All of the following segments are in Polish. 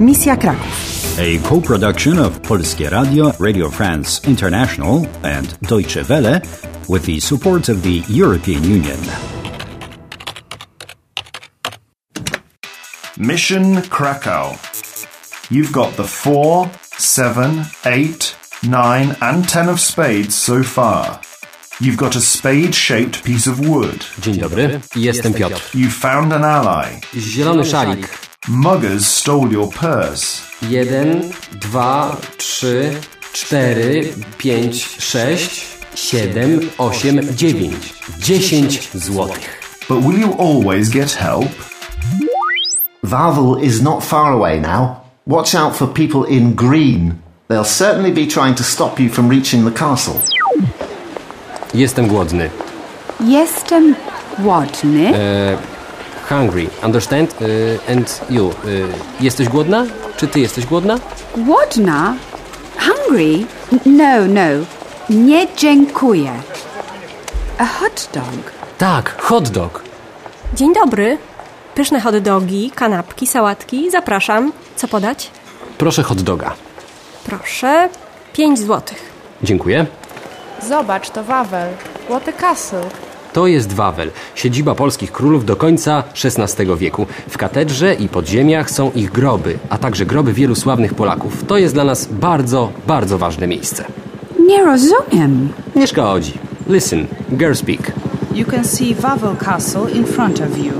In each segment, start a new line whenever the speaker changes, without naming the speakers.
Misja Kraków.
A co-production of Polskie Radio, Radio France International and Deutsche Welle with the support of the European Union.
Mission Krakow. You've got the four, seven, eight, nine, and 10 of spades so far. You've got a spade shaped piece of wood.
Dzień dobry, jestem Piotr.
You found an ally.
Zielony szalik.
Muggers stole your purse.
Jeden, dwa, trzy, cztery, pięć, sześć, siedem, osiem, dziewięć. Dziesięć złotych.
But will you always get help?
Varvel is not far away now. Watch out for people in green. They'll certainly be trying to stop you from reaching the castle.
Jestem głodny.
Jestem głodny.
Hungry, understand? Y, and you. y, jesteś głodna? Czy ty jesteś głodna?
Głodna? Hungry? N- No, no. Nie dziękuję. E, A hot dog.
Tak, hot dog.
Dzień dobry. Pyszne hot dogi, kanapki, sałatki. Zapraszam. Co podać?
Proszę hot doga.
Proszę. 5 złotych.
Dziękuję.
Zobacz, to Wawel. Łoty Castle.
To jest Wawel, siedziba polskich królów do końca XVI wieku. W katedrze i podziemiach są ich groby, a także groby wielu sławnych Polaków. To jest dla nas bardzo, bardzo ważne miejsce.
Nie rozumiem.
Nie szkodzi. Listen, girl speak.
You can see Wawel Castle in front of you.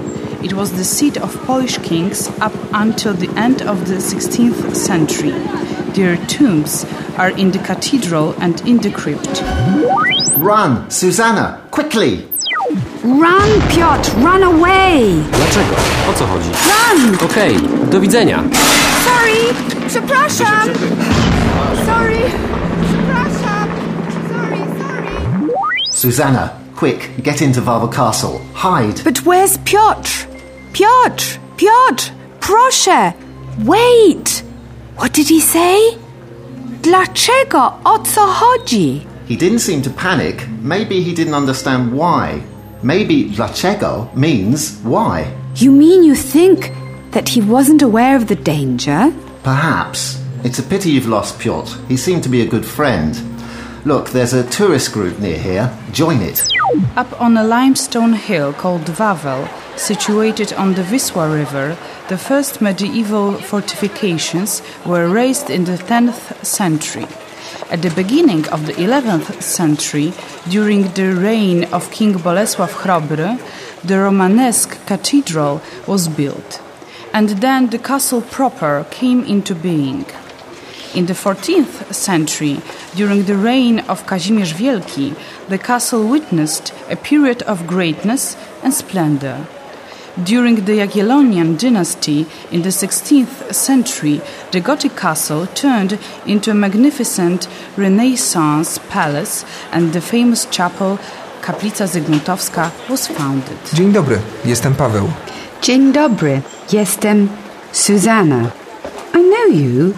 It was the seat of Polish kings up until the end of the 16th century. Their tombs are in the cathedral and in the crypt.
Run, Susanna, quickly!
Run, Piotr, run away!
Dlaczego? O co chodzi?
Run!
Okej, do widzenia.
Sorry! Przepraszam! Sorry! Przepraszam! Sorry, sorry!
Susanna, quick, get into Varvel Castle. Hide.
But where's Piotr? Piotr! Piotr! Proszę! Wait! What did he say? Dlaczego? O co chodzi?
He didn't seem to panic. Maybe he didn't understand why. Maybe dlaczego means why.
You mean you think that he wasn't aware of the danger?
Perhaps. It's a pity you've lost Piotr. He seemed to be a good friend. Look, there's a tourist group near here. Join it.
Up on a limestone hill called Wawel, situated on the Wisła River, the first medieval fortifications were raised in the 10th century. At the beginning of the 11th century, during the reign of King Bolesław Chrobry, the Romanesque cathedral was built, and then the castle proper came into being. In the 14th century, during the reign of Kazimierz Wielki, the castle witnessed a period of greatness and splendor. During the Jagiellonian dynasty in the 16th century, the Gothic castle turned into a magnificent Renaissance palace, and the famous chapel Kaplica Zygmuntowska was founded.
Dzień dobry, jestem Paweł.
Dzień dobry. Jestem Susanna. I know you.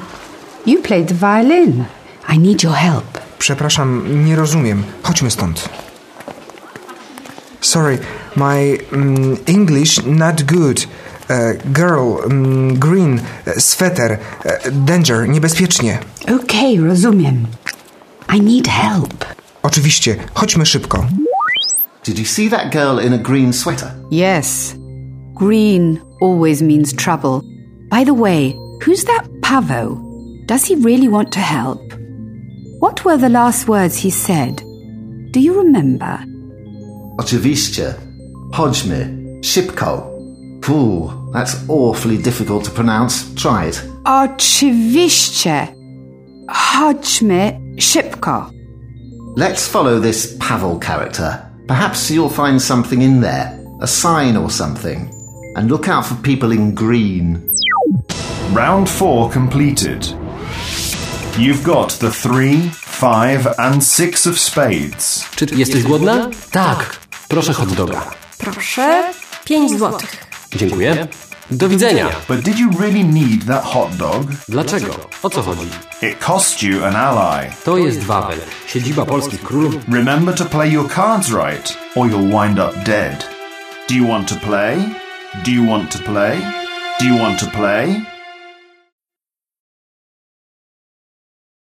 You played the violin. I need your help.
Przepraszam, nie rozumiem. Chodźmy stąd. Sorry, my mm, English not good. E, girl, mm, green, e, sweater, e, danger, niebezpiecznie.
Okay, rozumiem. I need help.
Oczywiście, chodźmy szybko.
Did you see that girl in a green sweater?
Yes. Green always means trouble. By the way, who's that Pavo? Does he really want to help? What were the last words he said? Do you remember?
Oczywiście. Chodźmy. Szybko. Cool. That's awfully difficult to pronounce. Try it.
Oczywiście. Chodźmy szybko.
Let's follow this Pavel character. Perhaps you'll find something in there. A sign or something. And look out for people in green.
Round four completed. You've got the three, five, and six of spades.
Czy jesteś głodna? Tak. Proszę hot doga.
Proszę. 5 złotych.
Dziękuję. Do widzenia.
But did you really need that hot dog?
Dlaczego? O co chodzi?
It cost you an ally.
To jest Wawel, siedziba polskich królów.
Remember to play your cards right, or you'll wind up dead. Do you want to play? Do you want to play? Do you want to play?